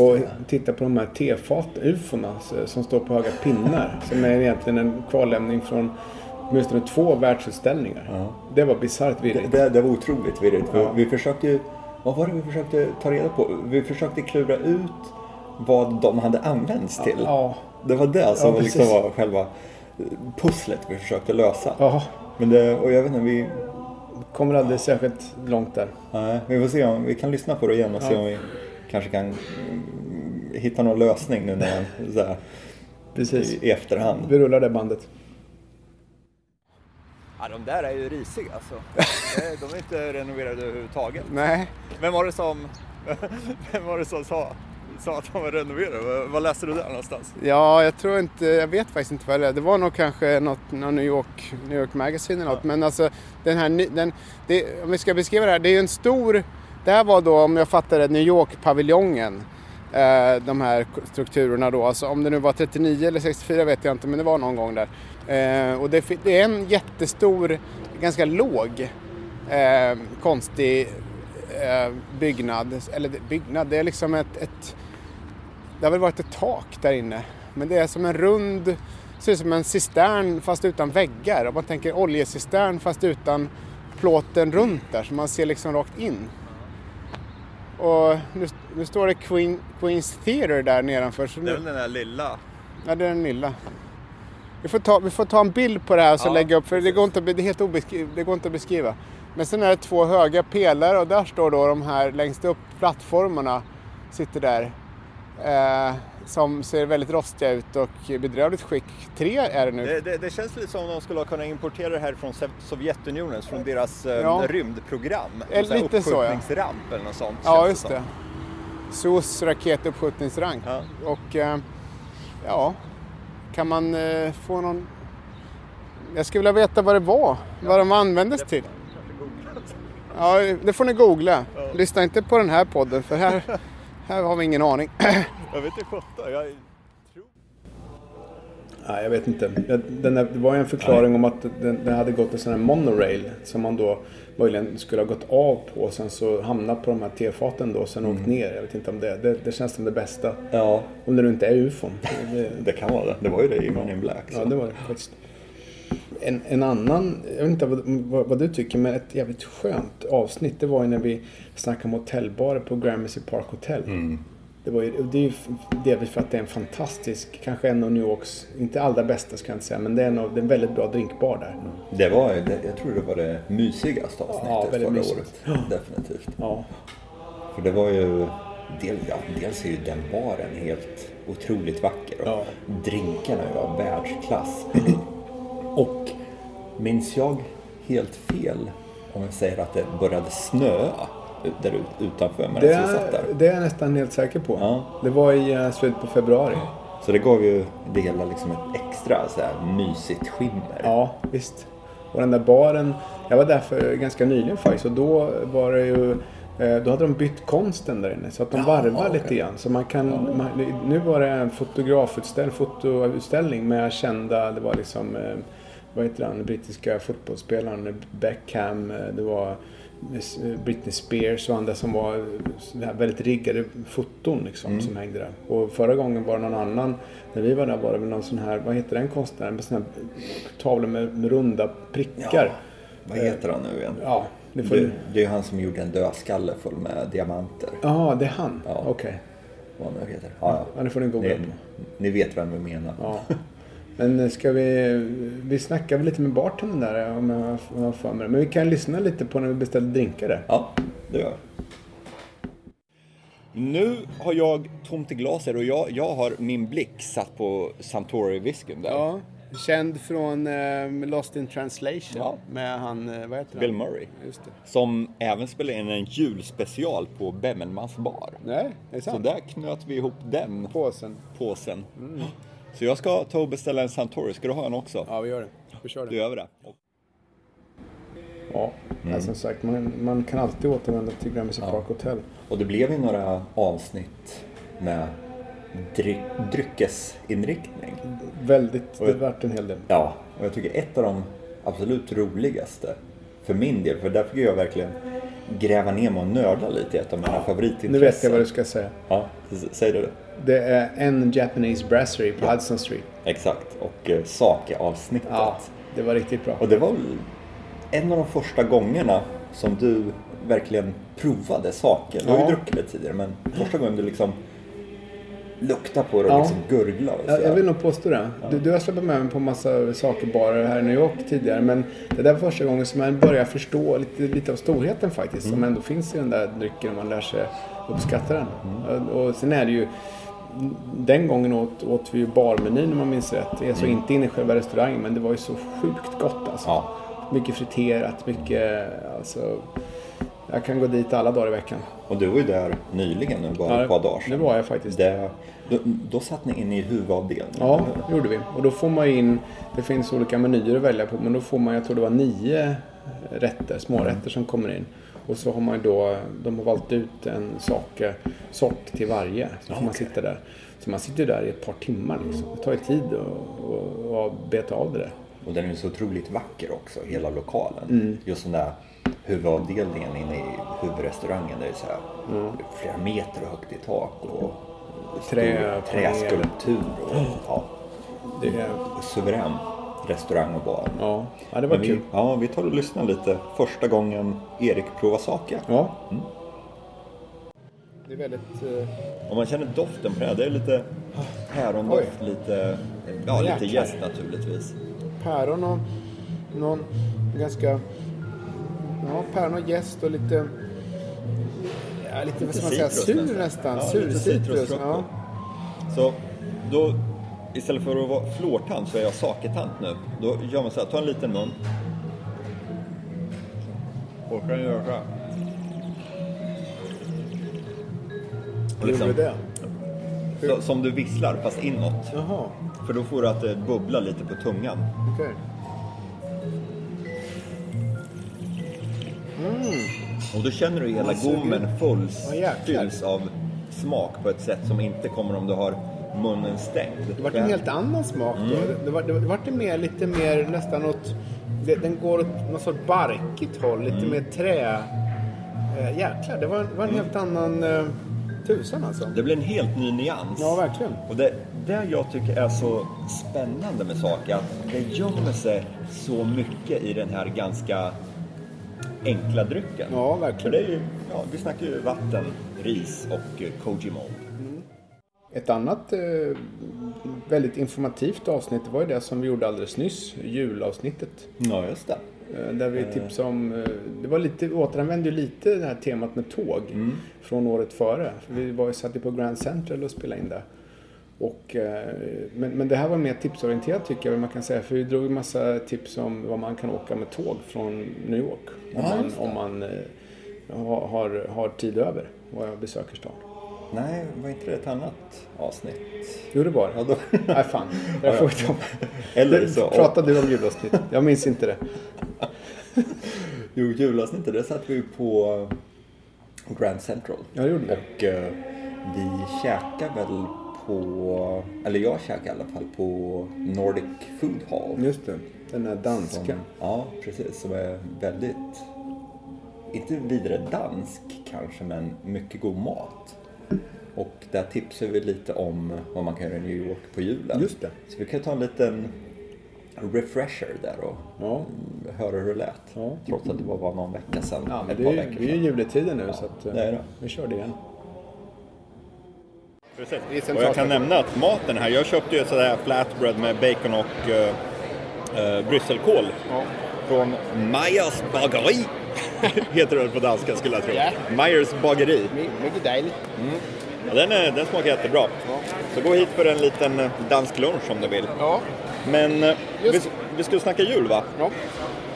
Speaker 1: och tittade på de här tefat, ufona, s- som står på höga
Speaker 5: [LAUGHS]
Speaker 1: pinnar. Som är egentligen en kvarlämning från åtminstone två världsutställningar. Det var bisarrt
Speaker 5: Det,
Speaker 1: virrigt.
Speaker 5: det, det var otroligt virrigt. för Vi försökte ju... Vad var det vi försökte ta reda på? Vi försökte klura ut vad de hade använts till.
Speaker 1: Ja.
Speaker 5: Det var det som
Speaker 1: Ja,
Speaker 5: liksom
Speaker 1: precis.
Speaker 5: var själva pusslet vi försökte lösa.
Speaker 1: Ja.
Speaker 5: Men det, och jag vet inte, vi
Speaker 1: kommer aldrig särskilt långt där.
Speaker 5: Nej, vi får se om vi kan lyssna på det igen och se om vi kanske kan mm, hitta någon lösning nu när han, så här,
Speaker 1: Precis.
Speaker 5: i, i efterhand.
Speaker 1: Vi rullar det bandet.
Speaker 2: Ja, de där är ju risiga alltså. De är inte renoverade överhuvudtaget.
Speaker 6: Nej.
Speaker 2: Vem var det som, [LAUGHS] vem var det som sa, sa att de var renoverade? Vad- Vad läste du där någonstans?
Speaker 6: Ja, jag tror inte, jag vet faktiskt inte vad det är. Det var nog kanske något, någon New York, New York Magazine eller något. Men alltså den här, ny- den, det, om vi ska beskriva det här, det är ju en stor, det här var då om jag fattar det, New York-paviljongen. Eh, de här k- strukturerna då, alltså om det nu var 39 eller 64 vet jag inte, men det var någon gång där. Eh, och det, fi- det är en jättestor, ganska låg, eh, konstig eh, byggnad. Eller det- byggnad, det är liksom ett, ett det har väl varit ett tak där inne. Men det är som en rund, ser ut som en cistern fast utan väggar. Om man tänker oljecistern fast utan plåten runt där så man ser liksom rakt in. Och nu, nu står det Queen, Queens Theatre där nedanför. Så
Speaker 2: Det är väl
Speaker 6: nu,
Speaker 2: den där lilla.
Speaker 6: ja, det är den lilla. Vi får, ta, vi får ta en bild på det här och så
Speaker 2: Ja,
Speaker 6: lägga upp för det går, inte, att be- det, är helt obeskri- det går inte att beskriva. Men sen är det två höga pelare och där står då de här längst upp plattformarna sitter där. Eh, som ser väldigt rostiga ut och i bedrövligt skick. Tre är det nu.
Speaker 2: Det, det, det känns lite som om de skulle ha kunnat importera det här från Sev- Sovjetunionen, från deras eh,
Speaker 6: Ja.
Speaker 2: rymdprogram.
Speaker 6: Eh,
Speaker 2: Så här
Speaker 6: lite så, ja.
Speaker 2: Uppskjutningsramp eller något sånt. känns
Speaker 6: ja, just
Speaker 2: som.
Speaker 6: det. SOS raketuppskjutningsrank.
Speaker 2: Ja.
Speaker 6: Och eh, ja, kan man eh, få någon... Jag skulle vilja veta vad det var, vad de användes till. Ja, det får ni googla. Lyssna inte på den här podden
Speaker 1: [LAUGHS]
Speaker 6: för här, här har vi ingen aning.
Speaker 2: Jag vet inte sjutton. Jag...
Speaker 1: Nej, jag vet inte. Jag- Den där, det var ju en förklaring om att den, den hade gått en sån här monorail som man då möjligen skulle ha gått av på och sen så hamnat på de här tefaten då och sen åkt ner. Jag vet inte om det, det, det känns som det bästa.
Speaker 5: Ja,
Speaker 1: Om det nu inte är ufon. Det,
Speaker 5: det kan vara det. Det var ju det i Man in Black. Så.
Speaker 1: Ja, det var det faktiskt. En, en annan, jag vet inte vad, vad, vad du tycker, men ett jävligt skönt avsnitt det var ju när vi snackade om hotellbarer på Gramercy Park Hotel.
Speaker 5: Mm.
Speaker 1: Det, var ju, och det är ju f- delvis för att det är en fantastisk, kanske en av New Yorks, inte allra bästa ska jag inte säga, men det är en, av, det är en väldigt bra drinkbar där.
Speaker 5: Mm. Det var, ju- det, jag tror det var det mysigaste avsnittet
Speaker 1: Ja, väldigt
Speaker 5: förra
Speaker 1: mysigt.
Speaker 5: året. Definitivt.
Speaker 1: Ja.
Speaker 5: För det var ju... Del, ja, dels är ju den baren helt otroligt vacker och
Speaker 1: Ja.
Speaker 5: drinkarna
Speaker 1: [CLEARS THROAT]
Speaker 5: var världsklass. och minns jag helt fel om jag säger att det började snöa ut- där ut- utanför medan
Speaker 1: Det,
Speaker 5: vi satt
Speaker 1: är,
Speaker 5: där.
Speaker 1: det är jag nästan helt säker på.
Speaker 5: Ja.
Speaker 1: Det var i eh, slutet på februari.
Speaker 5: Så det gav ju det hela liksom ett extra så här, mysigt skimmer.
Speaker 1: Ja, visst. Och den där baren, jag var där för ganska nyligen faktiskt och då var det ju eh, då hade de bytt konsten där inne så att de varvar lite grann. Så man kan, man, nu var det en fotografutställning, fotoutställning med kända, det var liksom, eh, vad heter han, den brittiska fotbollsspelaren Beckham, eh, det var eh, Britney Spears och andra som var eh, sådana här väldigt riggade foton liksom, som hängde där. Och förra gången var det någon annan, när vi var där var det väl någon sån här, vad heter den konstnären, med såna här tavlor med, med runda prickar.
Speaker 5: Vad heter han nu igen?
Speaker 1: Ja, det får
Speaker 5: Det,
Speaker 1: du.
Speaker 5: det är ju han som gjorde en dödskalle full med diamanter.
Speaker 1: Jaha, det är han?
Speaker 5: Ja.
Speaker 1: Okej.
Speaker 5: Vad han nu heter. Ja,
Speaker 1: Ja, det får ni googla
Speaker 5: ni,
Speaker 1: på.
Speaker 5: ni vet vem vi menar.
Speaker 1: Ja. Men eh, ska vi... Vi snackar väl lite med bartendern där om jag om jag har för mig det. Men vi kan lyssna lite på när vi beställde drinkar där.
Speaker 5: Ja, det gör jag. Nu har jag tomt i glaset och jag, jag har min blick satt på Santori-whiskyn där.
Speaker 1: Ja, känd från eh, Lost in translation
Speaker 5: Ja.
Speaker 1: med han, eh, vad heter
Speaker 5: Bill
Speaker 1: han?
Speaker 5: Murray.
Speaker 1: Just det.
Speaker 5: Som även spelade in en julspecial på Bemmelmans bar.
Speaker 1: Nej, det är
Speaker 5: Så
Speaker 1: sant.
Speaker 5: där knöt vi ihop den
Speaker 1: Påsen.
Speaker 5: påsen. Så jag ska ta och beställa en Santori. Ska du ha en också?
Speaker 1: Mm. Ja, vi gör det. Vi kör
Speaker 5: Du
Speaker 1: det.
Speaker 5: är över det?
Speaker 1: Ja, Mm. men som sagt, man, man kan alltid återvända till Gramercy Park Hotel.
Speaker 5: Och det blev ju några avsnitt med dryck, dryckesinriktning.
Speaker 1: Mm. Väldigt, det vart en hel del.
Speaker 5: Ja, och jag tycker ett av de absolut roligaste för min del, för där fick jag verkligen gräva ner mig och nörda lite i ett av mina favoritintressen.
Speaker 1: Nu vet jag vad du ska säga.
Speaker 5: Ja, s- säg det.
Speaker 1: Det är en Japanese brasserie på Hudson Street.
Speaker 5: Exakt, och eh, Sake-avsnittet.
Speaker 1: Ja, det var riktigt bra.
Speaker 5: Och det var väl en av de första gångerna som du verkligen provade saker. Du har ju
Speaker 1: Ja.
Speaker 5: druckit det tidigare, men första gången du liksom
Speaker 2: lukta på det och
Speaker 1: Ja.
Speaker 2: liksom gurgla. Och
Speaker 1: Jag, jag
Speaker 2: sådär.
Speaker 1: vill nog påstå det. Du, du har släppt med mig på massa saker bara här i New York tidigare. Men det där var första gången som jag började förstå lite, lite av storheten faktiskt. Som
Speaker 2: Mm.
Speaker 1: ändå finns i den där drycken om man lär sig uppskatta den.
Speaker 2: Mm.
Speaker 1: Och, och sen är det ju... Den gången åt, åt vi ju barmenyn om man minns rätt. Jag såg inte in i själva restaurangen men det var ju så sjukt gott alltså.
Speaker 2: Mm. Ja.
Speaker 1: Mycket friterat, mycket... Alltså, jag kan gå dit alla dagar i veckan.
Speaker 2: Och du var ju där nyligen, nu bara
Speaker 1: Ja,
Speaker 2: ett par dagar sedan.
Speaker 1: det var jag faktiskt.
Speaker 2: Det, då, då satt ni in i huvudavdelningen.
Speaker 1: Ja, det gjorde vi. Och då får man ju in, det finns olika menyer att välja på, men då får man, jag tror det var nio rätter,
Speaker 2: Mm.
Speaker 1: smårätter som kommer in. Och så har man ju då, de har valt ut en sak, sort till varje. Så får man sitta där. Så man sitter ju där i ett par timmar liksom. Det tar ju tid att- att att beta av det där.
Speaker 2: Och den är ju så otroligt vacker också, hela lokalen.
Speaker 1: Mm.
Speaker 2: Just den där huvudavdelningen inne i huvudrestaurangen. Det är så här,
Speaker 1: Mm.
Speaker 2: flera meter högt i tak och
Speaker 1: Trä-
Speaker 2: stor träskulptur. Och, ja,
Speaker 1: Det är,
Speaker 2: suverän restaurang och bar.
Speaker 1: ja. ja, det var
Speaker 2: Men vi,
Speaker 1: kul.
Speaker 2: ja, vi tar och lyssnar lite. Första gången Erik provar saker.
Speaker 1: Ja.
Speaker 6: Det är väldigt... eh,
Speaker 2: Om man känner doften på det här, det är lite pärondoft, lite, ja, lite
Speaker 6: Jäklar.
Speaker 2: jäst naturligtvis.
Speaker 6: päron och någon ganska... Ja, päron och jäst och lite... Ja, lite, vad ska man säga,
Speaker 2: citrus
Speaker 6: sur nästan. sur
Speaker 2: lite
Speaker 6: citrus.
Speaker 2: citrusfrukt
Speaker 6: Ja.
Speaker 2: då. Så då, istället för att vara flårtant så är jag saketant nu. Då gör man så här, ta en liten mun. Och kan göra så här. Och
Speaker 6: Gjorde
Speaker 2: liksom,
Speaker 6: du det?
Speaker 2: så, som du visslar fast inåt.
Speaker 6: Jaha,
Speaker 2: För då får du att det bubblar lite på tungan.
Speaker 6: okej.
Speaker 2: Och då känner du hela
Speaker 6: Man suger.
Speaker 2: gommen fylls,
Speaker 6: Ja, jäklar.
Speaker 2: fylls av smak på ett sätt som inte kommer om du har munnen stängd.
Speaker 6: Det vart en helt annan smak då. Det- Det, var, det, var- det vart det mer, lite mer nästan åt... Det, den går åt något sorts barkigt håll, lite mer trä... Eh, jäklar, det var, var en helt annan... Eh, tusan alltså.
Speaker 2: Det blir en helt ny nyans.
Speaker 6: Ja, verkligen.
Speaker 2: Och det, det jag tycker är så spännande med saker att det gömmer sig så mycket i den här ganska enkla drycken.
Speaker 6: Ja,
Speaker 2: För
Speaker 6: verkligen.
Speaker 2: det är ju, ja, vi snackar ju vatten, ris och eh, koji mold.
Speaker 1: Ett annat eh, väldigt informativt avsnitt var ju det som vi gjorde alldeles nyss, julavsnittet.
Speaker 2: Ja, just det.
Speaker 1: Eh, Där vi tipsade om, eh, det var lite, vi återanvände ju lite det här temat med tåg
Speaker 2: Mm.
Speaker 1: från året före. För Vi var ju satt ju på Grand Central och spelade in där. Och, eh, men, men det här var mer tipsorienterat tycker jag vad man kan säga. För vi drog ju massa tips om vad man kan åka med tåg från New York. Om man, om man eh, har, har, har tid över och besöker stan.
Speaker 2: Nej, var inte det ett annat avsnitt?
Speaker 1: Jo det var det.
Speaker 2: Ja, då...
Speaker 1: Nej fan, det där får vi ta om.
Speaker 2: Eller så...
Speaker 1: Pratade du om julavsnittet? Jag minns inte det.
Speaker 2: Jo, julavsnittet, där satt vi ju på Grand Central.
Speaker 1: Ja, det gjorde vi.
Speaker 2: Och eh, vi käkade väl på, eller jag käkade i alla fall på Nordic Food Hall.
Speaker 1: Just det, den där
Speaker 2: Som-
Speaker 1: danska.
Speaker 2: Ja, precis. Som är väldigt, inte vidare dansk kanske, men mycket god mat. Och där tipsar vi lite om vad man kan göra i New York på julen.
Speaker 1: Just det.
Speaker 2: Så vi kan ta en liten refresher där och
Speaker 1: Ja.
Speaker 2: mm, höra hur det lät.
Speaker 1: Ja.
Speaker 2: Trots att det bara var någon vecka sedan.
Speaker 1: Ja, men
Speaker 2: ett
Speaker 1: det
Speaker 2: par
Speaker 1: är,
Speaker 2: veckor
Speaker 1: vi är ju
Speaker 2: sedan.
Speaker 1: i juletiden nu
Speaker 2: Ja,
Speaker 1: så att, eh,
Speaker 2: det är det.
Speaker 1: vi kör det igen.
Speaker 8: Precis. Och jag kan nämna att maten här, jag köpte ju sådär flatbread med bacon och eh, eh, brysselkål. Från Majas bageri. [LAUGHS] Heter det på danska skulle jag tro.
Speaker 6: Ja.
Speaker 8: Meyers bageri.
Speaker 6: Mycket dejligt.
Speaker 8: Ja, den, är, den smakar jättebra. Så gå hit för en liten eh, dansk lunch om du vill.
Speaker 6: Ja,
Speaker 8: Men eh, vi,
Speaker 6: Just-
Speaker 8: vi skulle snacka jul va?
Speaker 6: ja.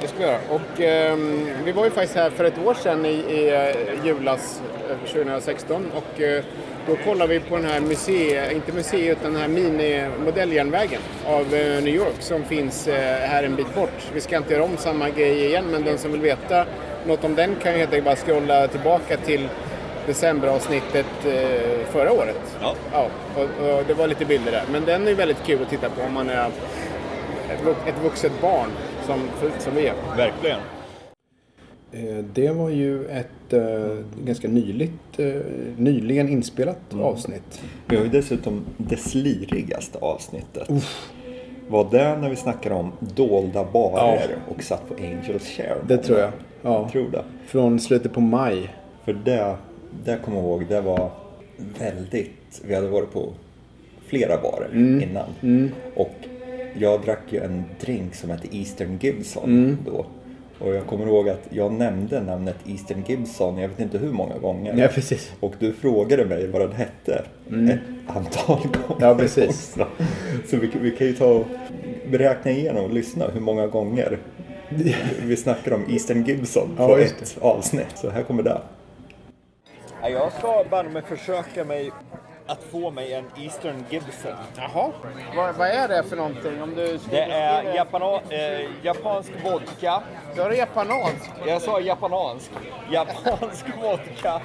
Speaker 6: Det ska vi göra. Och ehm, vi var ju faktiskt här för ett år sedan i, i eh, julas eh, 2016 och eh, då kollade vi på den här museet, inte museet utan den här minimodelljärnvägen av eh, New York som finns eh, här en bit bort. Vi ska inte göra om samma grej igen men den som vill veta något om den kan ju helt enkelt bara scrolla tillbaka till decemberavsnittet eh, förra året.
Speaker 8: Ja.
Speaker 6: Ja, och, och det var lite bilder där. Men den är ju väldigt kul att titta på om man är ett, vux- ett vuxet barn som, som vi är.
Speaker 8: Verkligen.
Speaker 1: Eh, Det var ju ett eh, ganska nyligt, eh, nyligen inspelat avsnitt.
Speaker 2: Vi har ju dessutom det slirigaste avsnittet. Var det när vi snackade om dolda barer och satt på Angels Share?
Speaker 1: Det tror jag. Ja.
Speaker 2: Jag tror det.
Speaker 1: Från slutet på maj.
Speaker 2: För det, det kommer jag ihåg, det var väldigt... Vi hade varit på
Speaker 5: flera barer
Speaker 1: Mm.
Speaker 5: innan. Och jag drack ju en drink som hette Eastern Gibson
Speaker 1: Mm.
Speaker 5: då. Och jag kommer ihåg att jag nämnde namnet Eastern Gibson, jag vet inte hur många gånger.
Speaker 1: Ja, precis. Mm.
Speaker 5: Och du frågade mig vad den hette ett antal gånger.
Speaker 1: Ja, precis.
Speaker 5: också. Så vi, vi kan ju ta och räkna igenom och lyssna hur
Speaker 1: [LAUGHS]
Speaker 5: många gånger vi snackar om Eastern Gibson på
Speaker 1: Ja, just
Speaker 5: ett avsnitt. Så här kommer det.
Speaker 2: Ja, jag ska banne mig försöka mig att få mig en Eastern Gibson.
Speaker 6: Jaha, vad, vad är det för någonting? Om du skulle
Speaker 2: Det är
Speaker 6: beskriva-
Speaker 2: japana, eh, japansk vodka.
Speaker 6: Då är det japanansk.
Speaker 2: Jag sa japanansk. Japansk vodka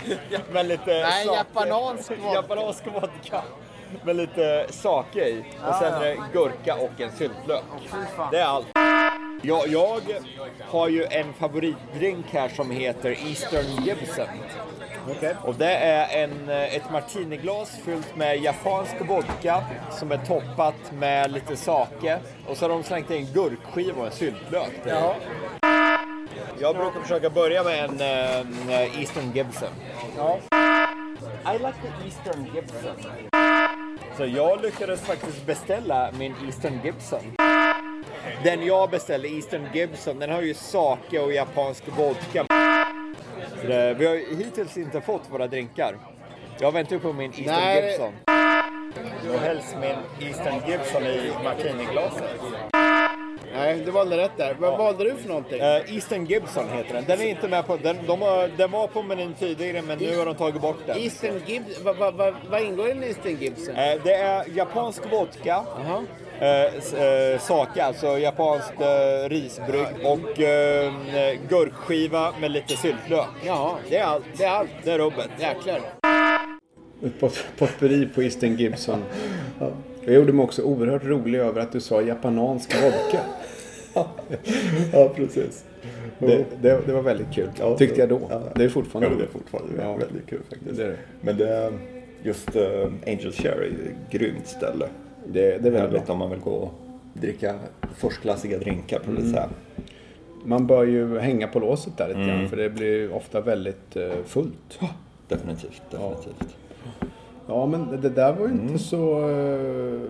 Speaker 2: med lite
Speaker 6: Nej,
Speaker 2: sake.
Speaker 6: japanansk vodka.
Speaker 2: Japansk vodka med lite sake i. Och
Speaker 6: Ah.
Speaker 2: sen är det gurka och en syltlök. Det är allt. Jag, jag har ju en favoritdrink här som heter Eastern Gibson. Och det är en, eh, ett martiniglas fyllt med japansk vodka som är toppat med lite sake. Och så har de slängt in gurkskiva och en syltlök. Ja. Jag brukar försöka börja med en eh, Eastern Gibson. I like the Eastern Gibson. Så jag lyckades faktiskt beställa min Eastern Gibson. Den jag beställde, Eastern Gibson, den har ju sake och japansk vodka. Så det- Vi har ju hittills inte fått våra drinkar. Jag väntar på min Eastern
Speaker 6: Nej, det-
Speaker 2: Gibson. Och helst min Eastern Gibson i martiniglaset.
Speaker 6: Nej, du valde rätt där. Vad valde du för någonting?
Speaker 2: Eh, Eastern Gibson heter den. Den är inte med på... Den, de har, den var på menyn tidigare men nu har de tagit bort den.
Speaker 6: Eastern Gibson, vad vad- vad- vad ingår i en Eastern Gibson?
Speaker 2: Eh, Det är japansk vodka,
Speaker 6: Jaha.
Speaker 2: eh, s- eh, sake, alltså japanskt eh, risbrygg och eh, gurkskiva med lite syltlök.
Speaker 6: Jaha.
Speaker 2: Det är allt.
Speaker 6: Det är allt.
Speaker 2: Det är rubbet.
Speaker 6: Jäklar.
Speaker 1: Ett pot- potpurri på Eastern Gibson. [LAUGHS] Ja. Jag gjorde mig också oerhört rolig över att du sa japansk vodka.
Speaker 5: Ja, precis.
Speaker 1: Det, det, det var väldigt kul,
Speaker 5: Ja,
Speaker 1: tyckte jag då.
Speaker 5: ja.
Speaker 1: Det är fortfarande
Speaker 5: Ja, det är
Speaker 1: roligt.
Speaker 5: fortfarande
Speaker 1: Ja.
Speaker 5: väldigt kul faktiskt.
Speaker 1: Det är det.
Speaker 5: Men det är just eh, Angel Cherry, det är ett grymt ställe.
Speaker 1: Det, det är väldigt
Speaker 5: Härligt
Speaker 1: bra.
Speaker 5: om man vill gå och dricka förstklassiga drinkar på
Speaker 2: Mm.
Speaker 5: dessert.
Speaker 1: Man bör ju hänga på låset där lite grann för det blir ju ofta väldigt eh, fullt.
Speaker 5: Definitivt, definitivt.
Speaker 1: Ja, men det- det där var ju inte så, eh,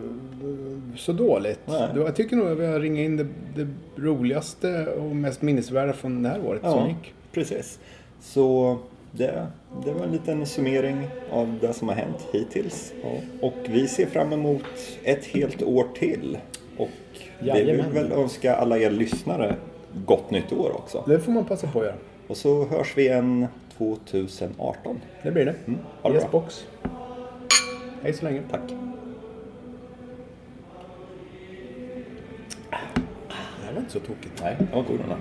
Speaker 1: så dåligt.
Speaker 5: Nej.
Speaker 1: Det var- Jag tycker nog att vi har ringat in det, det roligaste och mest minnesvärda från det här året som gick.
Speaker 5: precis. Så det, det var en liten summering av det som har hänt hittills. Och vi ser fram emot ett helt år till. Och vi vill
Speaker 1: Jajamän.
Speaker 5: väl önska alla er lyssnare gott nytt år också.
Speaker 1: Det får man passa på att göra.
Speaker 5: Och så hörs vi igen 2018.
Speaker 1: Det blir det.
Speaker 5: ha det
Speaker 1: yes,
Speaker 5: bra.
Speaker 1: box. Hej så länge.
Speaker 5: Tack.
Speaker 1: Det här var inte så tokigt.
Speaker 5: Nej, det var god den här.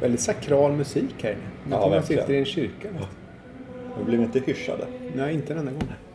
Speaker 1: Väldigt sakral musik här inne.
Speaker 5: Ja,
Speaker 1: Ja, man
Speaker 5: verkligen.
Speaker 1: sitter i en kyrka.
Speaker 5: Vi blev inte hyschade.
Speaker 1: Nej, inte den här gången.